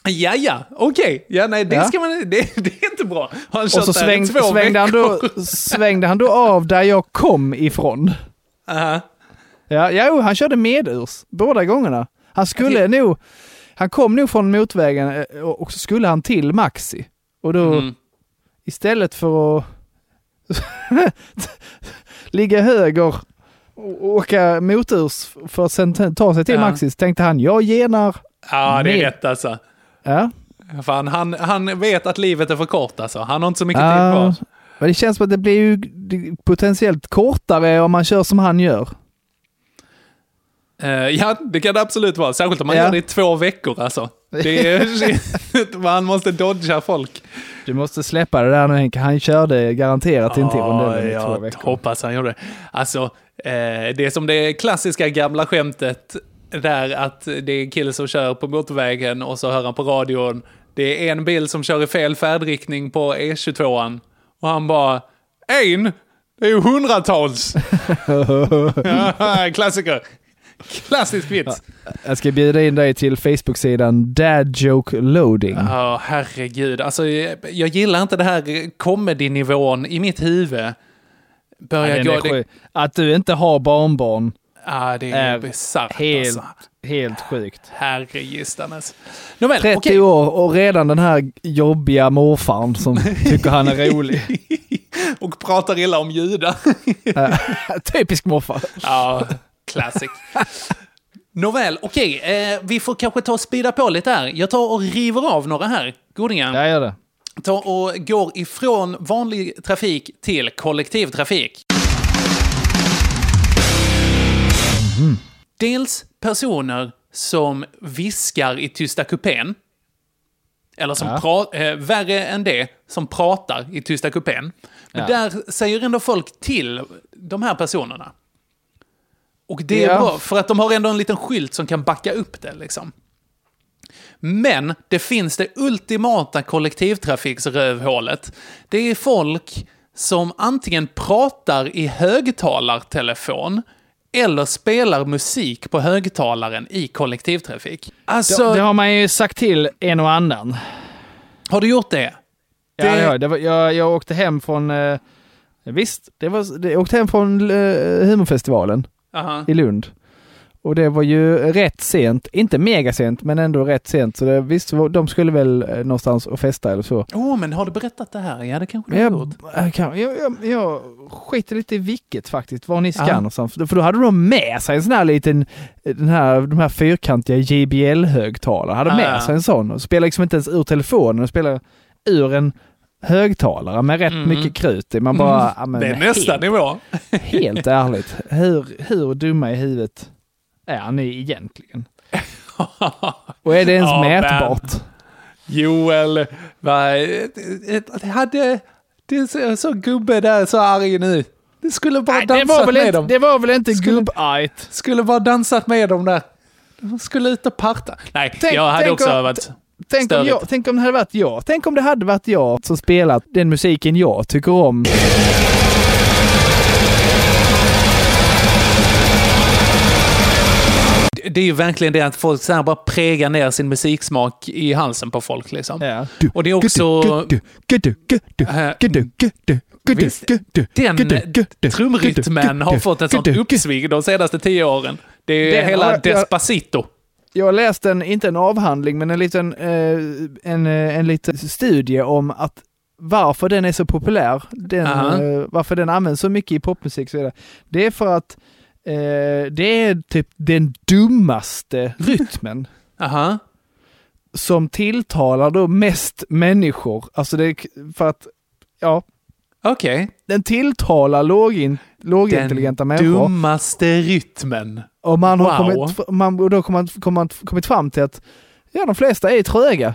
[SPEAKER 5] Ja, ja, okej. Ja, nej, det,
[SPEAKER 2] Ja.
[SPEAKER 5] Ska man, det, det är inte bra. Har Han
[SPEAKER 2] Och
[SPEAKER 5] kört
[SPEAKER 2] så
[SPEAKER 5] där i
[SPEAKER 2] sväng,
[SPEAKER 5] två
[SPEAKER 2] svängde, han då,
[SPEAKER 5] veckor?
[SPEAKER 2] svängde han då av där jag kom ifrån.
[SPEAKER 5] Aha.
[SPEAKER 2] Ja, ja, jo, han körde medurs båda gångerna. Han skulle nog, han kom nog från motorvägen eh, och och så skulle han till Maxi. Och då
[SPEAKER 5] Mm.
[SPEAKER 2] istället för att ligga höger och åka motors för att sen ta- ta sig till
[SPEAKER 5] Ja.
[SPEAKER 2] Maxi så tänkte han, jag genar.
[SPEAKER 5] Ja, det är
[SPEAKER 2] Med-
[SPEAKER 5] rätt alltså.
[SPEAKER 2] Ja.
[SPEAKER 5] Fan, han, han vet att livet är för kort alltså. Han har inte så mycket tid
[SPEAKER 2] Ah,
[SPEAKER 5] kvar.
[SPEAKER 2] men det känns som att det blir ju det- potentiellt kortare om man kör som han gör.
[SPEAKER 5] Eh, ja, det kan det absolut vara. Särskilt om man
[SPEAKER 2] Ja.
[SPEAKER 5] gör det i två veckor alltså. Det är, man måste dodga folk.
[SPEAKER 2] Du måste släppa det där nu Henke. Han körde garanterat inte i rondellen
[SPEAKER 5] Ja,
[SPEAKER 2] i två
[SPEAKER 5] jag
[SPEAKER 2] veckor.
[SPEAKER 5] hoppas han gjorde det. Alltså, eh, det är som det klassiska gamla skämtet där att det är en kille som kör på motorvägen och så hör han på radion. Det är en bil som kör i fel färdriktning på E22an. Och han bara, en? Det är ju hundratals! Klassiker. Klassisk vits.
[SPEAKER 2] Jag ska bjuda in dig till Facebook-sidan Dad Joke Loading.
[SPEAKER 5] Ja, herregud. Alltså, jag, jag gillar inte det här comedy-nivån i mitt huvud. Börjar
[SPEAKER 2] Den
[SPEAKER 5] gå...
[SPEAKER 2] är
[SPEAKER 5] Det,
[SPEAKER 2] sjuk. Att du inte har barnbarn
[SPEAKER 5] ah, det är,
[SPEAKER 2] är
[SPEAKER 5] bisarrt
[SPEAKER 2] helt,
[SPEAKER 5] alltså.
[SPEAKER 2] helt sjukt.
[SPEAKER 5] Herregistanes. Nåväl,
[SPEAKER 2] 30
[SPEAKER 5] okej.
[SPEAKER 2] år och redan den här jobbiga morfarn som tycker han är rolig.
[SPEAKER 5] Och pratar illa om judar.
[SPEAKER 2] Eh, Typisk morfar.
[SPEAKER 5] ja, classic. Nåväl, okej. Eh, vi får kanske ta och speeda på lite här. Jag tar och river av några här. Godingar.
[SPEAKER 2] Jag gör det.
[SPEAKER 5] Ta och går ifrån vanlig trafik till kollektivtrafik.
[SPEAKER 14] Mhm.
[SPEAKER 5] Dels personer som viskar i tysta kupén. Eller som
[SPEAKER 14] Ja.
[SPEAKER 5] pra- eh, värre än det, som pratar i tysta kupén. Men
[SPEAKER 14] Ja.
[SPEAKER 5] där säger ändå folk till de här personerna. Och det är
[SPEAKER 14] Ja.
[SPEAKER 5] bra, för att de har ändå en liten skylt som kan backa upp det. Liksom. Men det finns det ultimata kollektivtrafiksrövhålet. Det är folk som antingen pratar i högtalartelefon eller spelar musik på högtalaren i kollektivtrafik. Alltså,
[SPEAKER 2] det, det har man ju sagt till en och annan.
[SPEAKER 5] Har du gjort det?
[SPEAKER 2] Ja, det... har jag. det var, jag, jag åkte hem från... Eh, visst, det var, det, jag åkte hem från eh, humorfestivalen
[SPEAKER 5] Aha.
[SPEAKER 2] i Lund. Och det var ju rätt sent, inte mega sent, men ändå rätt sent. Så det, visst, de skulle väl eh, någonstans och festa eller så.
[SPEAKER 5] Åh, men har du berättat det här? Ja, det kanske du
[SPEAKER 2] Men
[SPEAKER 5] har
[SPEAKER 2] jag,
[SPEAKER 5] gjort.
[SPEAKER 2] jag, kan- jag, jag, jag skiter lite i vilket faktiskt, var ni ska
[SPEAKER 5] Ja.
[SPEAKER 2] någonstans. För då hade de med sig en sån här liten, eh, den här, de här fyrkantiga JBL-högtalare. Hade
[SPEAKER 5] Ja,
[SPEAKER 2] med
[SPEAKER 5] ja.
[SPEAKER 2] sig en sån och spelade liksom inte ens ur telefonen, de spelade ur en högtalare med rätt
[SPEAKER 5] Mm.
[SPEAKER 2] mycket krut i. Man bara,
[SPEAKER 5] Mm.
[SPEAKER 2] ja, men
[SPEAKER 5] det är nästa
[SPEAKER 2] helt,
[SPEAKER 5] nivå.
[SPEAKER 2] helt ärligt, hur, hur dumma i huvudet är ni egentligen? och är det ens
[SPEAKER 5] Ja, men-
[SPEAKER 2] mätbart?
[SPEAKER 5] Joel, va, ett- ett- det hade... Det är så, så gubbe där, så arg nu. Det skulle bara
[SPEAKER 2] det
[SPEAKER 5] dansat
[SPEAKER 2] var väl
[SPEAKER 5] med
[SPEAKER 2] inte-
[SPEAKER 5] dem.
[SPEAKER 2] det var väl inte
[SPEAKER 5] Skulle-
[SPEAKER 2] gubbajt?
[SPEAKER 5] Skulle bara dansat med dem där. De skulle ut och parta. Nej,
[SPEAKER 2] Tänk-
[SPEAKER 5] jag hade
[SPEAKER 2] tänk
[SPEAKER 5] också
[SPEAKER 2] om-
[SPEAKER 5] övat.
[SPEAKER 2] Tänk om,
[SPEAKER 5] Störigt.
[SPEAKER 2] jag, tänk om det hade varit jag. Tänk om det hade varit jag som spelat den musiken jag tycker om.
[SPEAKER 5] Det- Det är ju verkligen det att folk så här bara prägar ner sin musiksmak i halsen på folk. Liksom. Och det är också... Äh, Visst, Den eh, trumrytmen har fått ett sånt uppsving de senaste tio åren. Det är
[SPEAKER 2] Den har
[SPEAKER 5] hela
[SPEAKER 2] jag-
[SPEAKER 5] Despacito.
[SPEAKER 2] Jag läste en, inte en avhandling, men en liten, eh, en, eh, en liten studie om att varför den är så populär, den,
[SPEAKER 5] Aha.
[SPEAKER 2] eh, varför den används så mycket i popmusik. Så vidare. det är för att eh, det är typ den dummaste rytmen.
[SPEAKER 5] Aha.
[SPEAKER 2] som tilltalar då mest människor. Alltså det är k- för att, ja.
[SPEAKER 5] Okej.
[SPEAKER 2] Den tilltalar lågin, lågintelligenta
[SPEAKER 5] Den
[SPEAKER 2] människor.
[SPEAKER 5] dummaste rytmen.
[SPEAKER 2] Och man har
[SPEAKER 5] Wow.
[SPEAKER 2] kommit, f- man, och då kommer man, kommer man kommit fram till att ja, de flesta är tröga.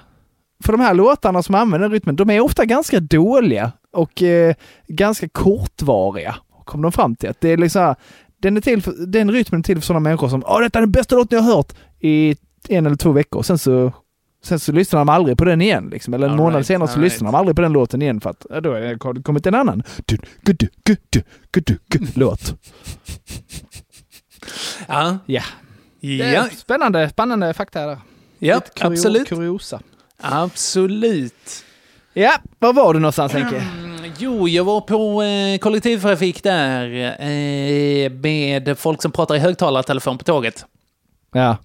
[SPEAKER 2] För de här låtarna som använder den rytmen, de är ofta ganska dåliga och eh, ganska kortvariga. Kom de fram till att det är liksom, så här, den, är till för, den rytmen är till för sådana människor som Åh, detta är den bästa låten jag har hört i en eller två veckor. Sen så, sen så lyssnar de aldrig på den igen. Liksom. Eller en
[SPEAKER 5] All
[SPEAKER 2] månad
[SPEAKER 5] right,
[SPEAKER 2] senare
[SPEAKER 5] all
[SPEAKER 2] så lyssnar de aldrig på den låten igen för att ja, då har det kommit en annan du, gu- du, gu- du, gu- du, gu- låt.
[SPEAKER 5] Ja.
[SPEAKER 2] Ja. Det är
[SPEAKER 5] Ja,
[SPEAKER 2] Spännande, spännande fakta där.
[SPEAKER 5] Ja,
[SPEAKER 2] Lite kurio-
[SPEAKER 5] absolut.
[SPEAKER 2] Kuriosa.
[SPEAKER 5] absolut.
[SPEAKER 2] Ja, var var du någonstans Henke?
[SPEAKER 5] Jo, jag var på eh, kollektivtrafik där eh, med folk som pratar i högtalartelefon på tåget.
[SPEAKER 2] Ja.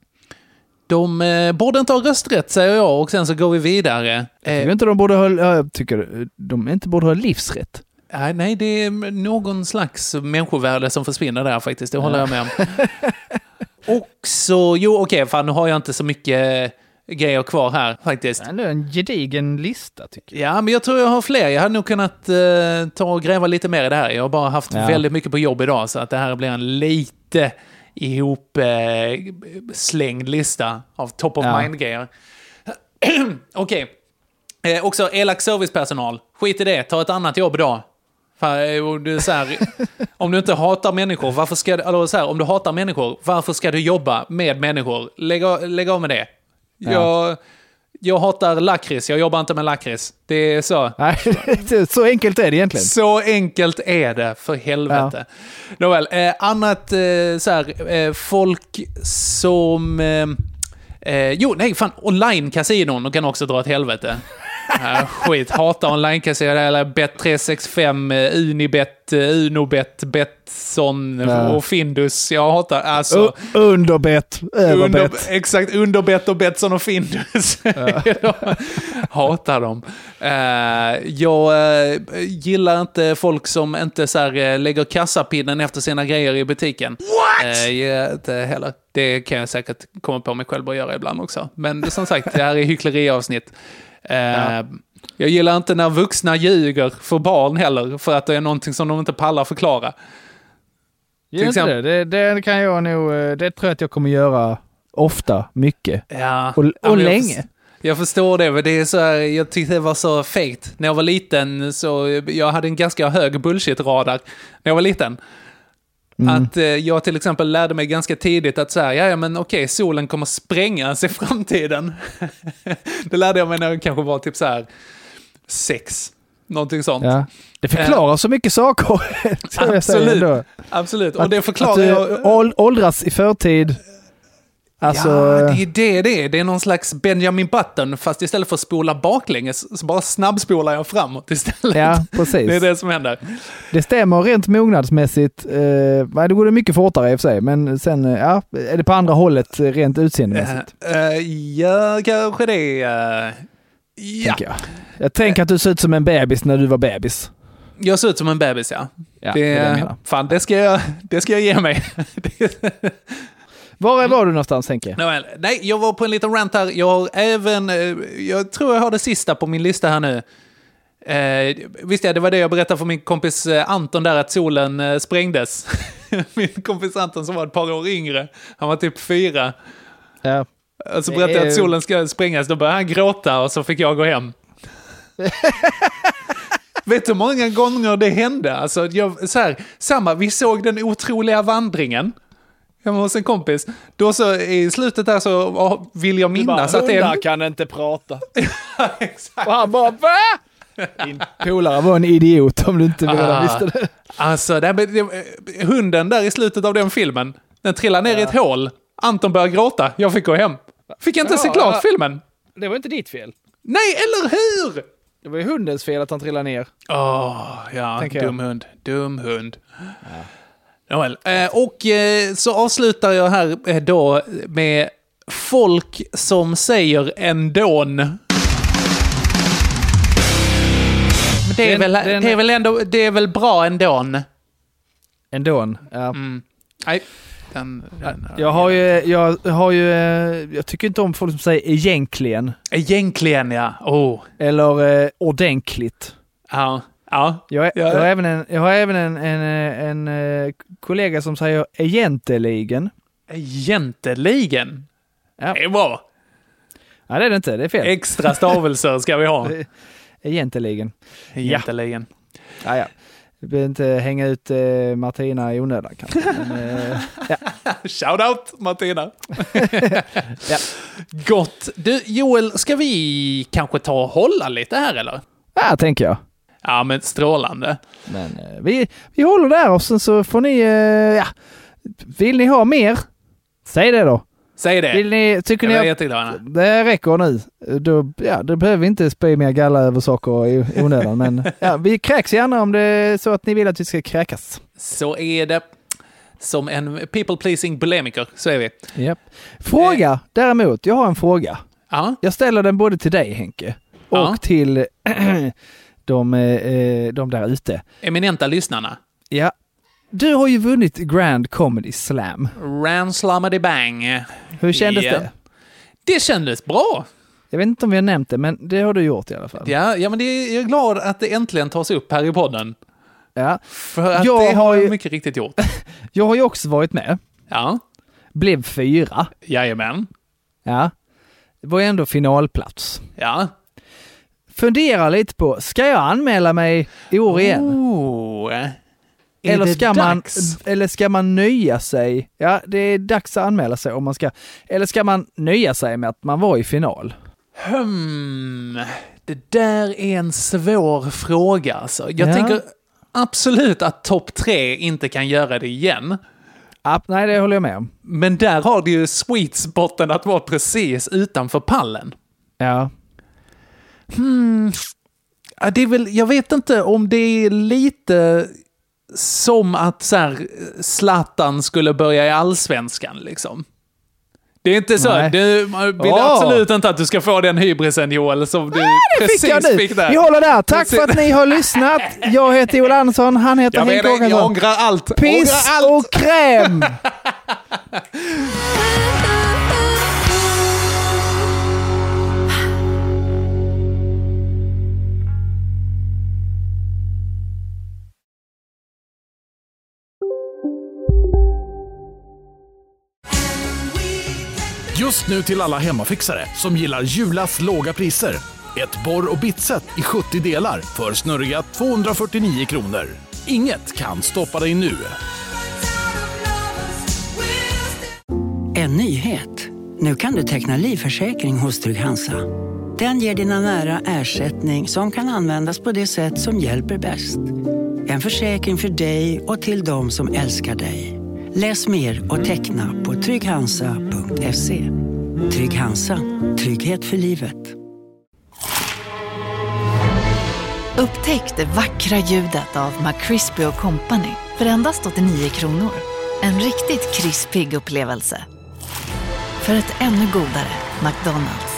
[SPEAKER 5] De eh, borde inte ha rösträtt, säger jag, och sen så går vi vidare. Eh,
[SPEAKER 2] Jag tycker inte de borde ha, ja, jag tycker eh, de inte borde ha livsrätt.
[SPEAKER 5] Nej, eh, nej, det är någon slags människovärde som försvinner där faktiskt. Det håller jag med om. Och så, jo okej, fan nu har jag inte så mycket grejer kvar här faktiskt.
[SPEAKER 2] Ändå en gedigen lista tycker
[SPEAKER 5] jag. Ja, men jag tror jag har fler. Jag hade nog kunnat eh, ta och gräva lite mer i det här. Jag har bara haft
[SPEAKER 2] Ja.
[SPEAKER 5] väldigt mycket på jobb idag, så att det här blir en lite ihop eh, slängd lista av top of
[SPEAKER 14] Ja.
[SPEAKER 5] mind-grejer. Okej. Eh, också elak servicepersonal. Skit i det, ta ett annat jobb idag. Fan, eh, och du är så här, om du inte hatar människor, varför ska du, eller så här, om du hatar människor, varför ska du jobba med människor? Lägg, av- lägg av med det.
[SPEAKER 2] Ja.
[SPEAKER 5] Jag, jag hatar lakrits, jag jobbar inte med lakrits. Det är så.
[SPEAKER 2] Nej, så enkelt är det egentligen.
[SPEAKER 5] Så enkelt är det, för helvete. Nåväl, eh, annat eh, så här, eh, folk som... Eh, eh, jo, nej, fan, online-kasinon, de kan också dra åt helvete. Äh, skit, hatar online-kasinon, eller Bet365, eh, Unibet, eh, Unobet, Betsson
[SPEAKER 2] Ja.
[SPEAKER 5] och Findus. Jag hatar, alltså...
[SPEAKER 2] U- Underbett,
[SPEAKER 5] Under,
[SPEAKER 2] överbett.
[SPEAKER 5] exakt, underbett och Betsson och Findus. Hatar dem. Eh, jag eh, gillar inte folk som inte så här, eh, lägger kassapinnen efter sina grejer i butiken. What? inte heller. Det kan jag säkert komma på mig själv att göra ibland också. Men som sagt, det här är hyckleriavsnitt. Eh, Jag gillar inte när vuxna ljuger för barn heller, för att det är någonting som de inte pallar förklara.
[SPEAKER 2] Gör inte det. det. Det kan jag nog, eh, det tror jag att jag kommer göra ofta, mycket.
[SPEAKER 5] Ja.
[SPEAKER 2] Och, och
[SPEAKER 5] Ja, men jag
[SPEAKER 2] länge.
[SPEAKER 5] förs- Jag förstår det, men det är så här, jag tyckte det var så fegt. När jag var liten så, jag hade en ganska hög bullshit-radar när jag var liten.
[SPEAKER 2] Mm.
[SPEAKER 5] Att eh, jag till exempel lärde mig ganska tidigt att så här, ja ja, men okej, solen kommer sprängas i framtiden. det lärde jag mig när jag kanske var typ så här sex, någonting sånt.
[SPEAKER 2] Ja. Det förklarar så mycket saker. tror jag säger
[SPEAKER 5] Absolut.
[SPEAKER 2] ändå.
[SPEAKER 5] Absolut, och det förklarar
[SPEAKER 2] att du
[SPEAKER 5] jag...
[SPEAKER 2] ål- åldras i förtid. Alltså,
[SPEAKER 5] ja, det är det det är. Det är någon slags Benjamin Button, fast istället för att spola baklänges så bara snabbspolar jag framåt istället.
[SPEAKER 2] Ja, precis.
[SPEAKER 5] Det är det som händer.
[SPEAKER 2] det stämmer rent mognadsmässigt. Eh, nej, det går det mycket fortare i och för sig, men sen eh, ja, är det på andra hållet eh, rent utseendemässigt.
[SPEAKER 5] Eh, eh, ja, kanske det. eh. ja.
[SPEAKER 2] Tänker jag. jag tänker att du ser ut som en bebis när du var bebis.
[SPEAKER 5] Jag ser ut som en bebis, ja.
[SPEAKER 2] Ja, det är det jag menar.
[SPEAKER 5] fan, det ska jag, det ska jag ge mig. Mm.
[SPEAKER 2] Var var du någonstans Henke?
[SPEAKER 5] Nåväl, nej, jag var på en liten rant här. Jag har även, eh, jag tror jag har det sista på min lista här nu. Eh, visst ja, det var det jag berättade för min kompis eh, Anton där att solen eh, sprängdes. min kompis Anton som var ett par år yngre, han var typ fyra.
[SPEAKER 2] Ja.
[SPEAKER 5] Och så berättade jag att solen ska sprängas, då började han gråta och så fick jag gå hem. Vet du hur många gånger det hände? Alltså, jag, så här, samma, vi såg den otroliga vandringen hemma hos en kompis. Då så i slutet där så åh, vill jag minnas att det är...
[SPEAKER 14] "Hundar kan inte prata.
[SPEAKER 2] Och han bara va? Din polare var en idiot om du inte redan
[SPEAKER 5] Ah.
[SPEAKER 2] visste det.
[SPEAKER 5] Alltså, det, men det, hunden där i slutet av den filmen, den trillar ner i ett hål. Anton börjar gråta, jag fick gå hem. Fick jag inte se
[SPEAKER 2] Ja,
[SPEAKER 5] klart
[SPEAKER 2] ja.
[SPEAKER 5] filmen?
[SPEAKER 2] Det var inte ditt fel.
[SPEAKER 5] Nej, eller hur?
[SPEAKER 2] Det var ju hundens fel att han trillade ner.
[SPEAKER 5] Åh, ja,
[SPEAKER 2] Tänker jag.
[SPEAKER 5] dum hund. Dum hund. Nåväl. Eh, och eh, så avslutar jag här eh, då med folk som säger ändån. Men Det är,
[SPEAKER 2] Den-
[SPEAKER 5] väl,
[SPEAKER 2] den-
[SPEAKER 5] det, är väl ändå, det är väl bra ändån?
[SPEAKER 2] Ändå. Ja.
[SPEAKER 5] Mm. Nej, den, den,
[SPEAKER 2] Jag har ju, jag har ju, eh, jag tycker inte om folk som säger egentligen.
[SPEAKER 5] Egentligen ja. Oh.
[SPEAKER 2] Eller eh, ordentligt.
[SPEAKER 5] Ja. ja.
[SPEAKER 2] Jag, är,
[SPEAKER 5] Ja.
[SPEAKER 2] jag har även, en, jag har även en, en, eh, en, eh, kollega som säger egentligen.
[SPEAKER 5] Egentligen?
[SPEAKER 2] Ja.
[SPEAKER 5] Det är bra.
[SPEAKER 2] Nej, det är det inte. Det är fel.
[SPEAKER 5] Extra stavelser ska vi ha.
[SPEAKER 2] Egentligen.
[SPEAKER 5] Egentligen.
[SPEAKER 2] Ja, ja. Vi behöver inte hänga ut eh, Martina i onödan kanske. Men, eh, ja.
[SPEAKER 5] Shout out Martina! Gott! Du Joel, ska vi kanske ta och hålla lite här eller?
[SPEAKER 2] ja, tänker jag.
[SPEAKER 5] Ja men strålande.
[SPEAKER 2] Men eh, vi, vi håller där och sen så får ni, eh, ja, vill ni ha mer? Säg det då.
[SPEAKER 5] Säg det!
[SPEAKER 2] Vill ni, tycker
[SPEAKER 5] Eh. jag
[SPEAKER 2] ni
[SPEAKER 5] är
[SPEAKER 2] att
[SPEAKER 5] jätteglad. Anna.
[SPEAKER 2] det räcker nu? Då, ja, då behöver vi inte spy mer galla över saker i i onödan. men ja, vi kräks gärna om det är så att ni vill att vi ska kräkas.
[SPEAKER 5] Så är det. Som en people pleasing bulimiker, så är vi.
[SPEAKER 2] Japp. Fråga
[SPEAKER 5] Eh.
[SPEAKER 2] däremot, jag har en fråga.
[SPEAKER 5] Ja.
[SPEAKER 2] Jag ställer den både till dig Henke och
[SPEAKER 5] Ja.
[SPEAKER 2] till de, eh, de där ute.
[SPEAKER 5] Eminenta lyssnarna.
[SPEAKER 2] Ja. Du har ju vunnit Grand Comedy Slam.
[SPEAKER 5] Ranslamity bang.
[SPEAKER 2] Hur kändes
[SPEAKER 5] Ja.
[SPEAKER 2] det?
[SPEAKER 5] Det kändes bra.
[SPEAKER 2] Jag vet inte om vi har nämnt det, men det har du gjort i alla fall.
[SPEAKER 5] Ja, ja men det är, jag är glad att det äntligen tas upp här i podden.
[SPEAKER 2] Ja.
[SPEAKER 5] För att
[SPEAKER 2] Jag
[SPEAKER 5] det har
[SPEAKER 2] har ju-
[SPEAKER 5] jag mycket riktigt gjort.
[SPEAKER 2] Jag har ju också varit med.
[SPEAKER 5] Ja,
[SPEAKER 2] Blev fyra.
[SPEAKER 5] jajamän.
[SPEAKER 2] Ja. Det var ju ändå finalplats.
[SPEAKER 5] Ja.
[SPEAKER 2] Funderar lite på, ska jag anmäla mig i år igen?
[SPEAKER 5] Oh. Är
[SPEAKER 2] Eller
[SPEAKER 5] det
[SPEAKER 2] ska, man,
[SPEAKER 5] dags?
[SPEAKER 2] eller ska man nöja sig? Ja, det är dags att anmäla sig om man ska. Eller ska man nöja sig med att man var i final?
[SPEAKER 5] Hmm. Det där är en svår fråga alltså. Jag
[SPEAKER 2] Ja.
[SPEAKER 5] tänker absolut att topp tre inte kan göra det igen.
[SPEAKER 2] Ja, nej, det håller jag med om.
[SPEAKER 5] Men där har du ju sweet spoten att vara precis utanför pallen.
[SPEAKER 2] Ja.
[SPEAKER 5] Hmm. Ja, Det är väl, jag vet inte om det är lite som att så här, Zlatan skulle börja i allsvenskan. Liksom. Det är inte så.
[SPEAKER 2] Nej.
[SPEAKER 5] Du man vill
[SPEAKER 2] Åh.
[SPEAKER 5] absolut inte att du ska få den hybrisen Joel som du
[SPEAKER 2] Ah, Det
[SPEAKER 5] precis
[SPEAKER 2] fick jag nu.
[SPEAKER 5] fick där.
[SPEAKER 2] Vi håller där. Tack
[SPEAKER 5] Precis.
[SPEAKER 2] för att ni har lyssnat. Jag heter Joel Andersson, han heter
[SPEAKER 5] Jag,
[SPEAKER 2] Henke
[SPEAKER 5] menar, jag
[SPEAKER 2] Åkesson.
[SPEAKER 5] ångrar allt. Ångrar
[SPEAKER 2] Piss
[SPEAKER 5] allt.
[SPEAKER 2] och kräm!
[SPEAKER 5] Just nu till alla hemmafixare som gillar Julas låga priser. Ett borr och bitset i 70 delar för snurriga 249 kronor. Inget kan stoppa dig nu.
[SPEAKER 15] En nyhet. Nu kan du teckna livförsäkring hos Trygg-Hansa. Den ger dina nära ersättning som kan användas på det sätt som hjälper bäst. En försäkring för dig och till de som älskar dig. Läs mer och teckna på trygghansa.se. Trygg-Hansa. Trygghet för livet.
[SPEAKER 4] Upptäck det vackra ljudet av McCrispy Company för endast 89 kronor. En riktigt krispig upplevelse. För ett ännu godare McDonalds.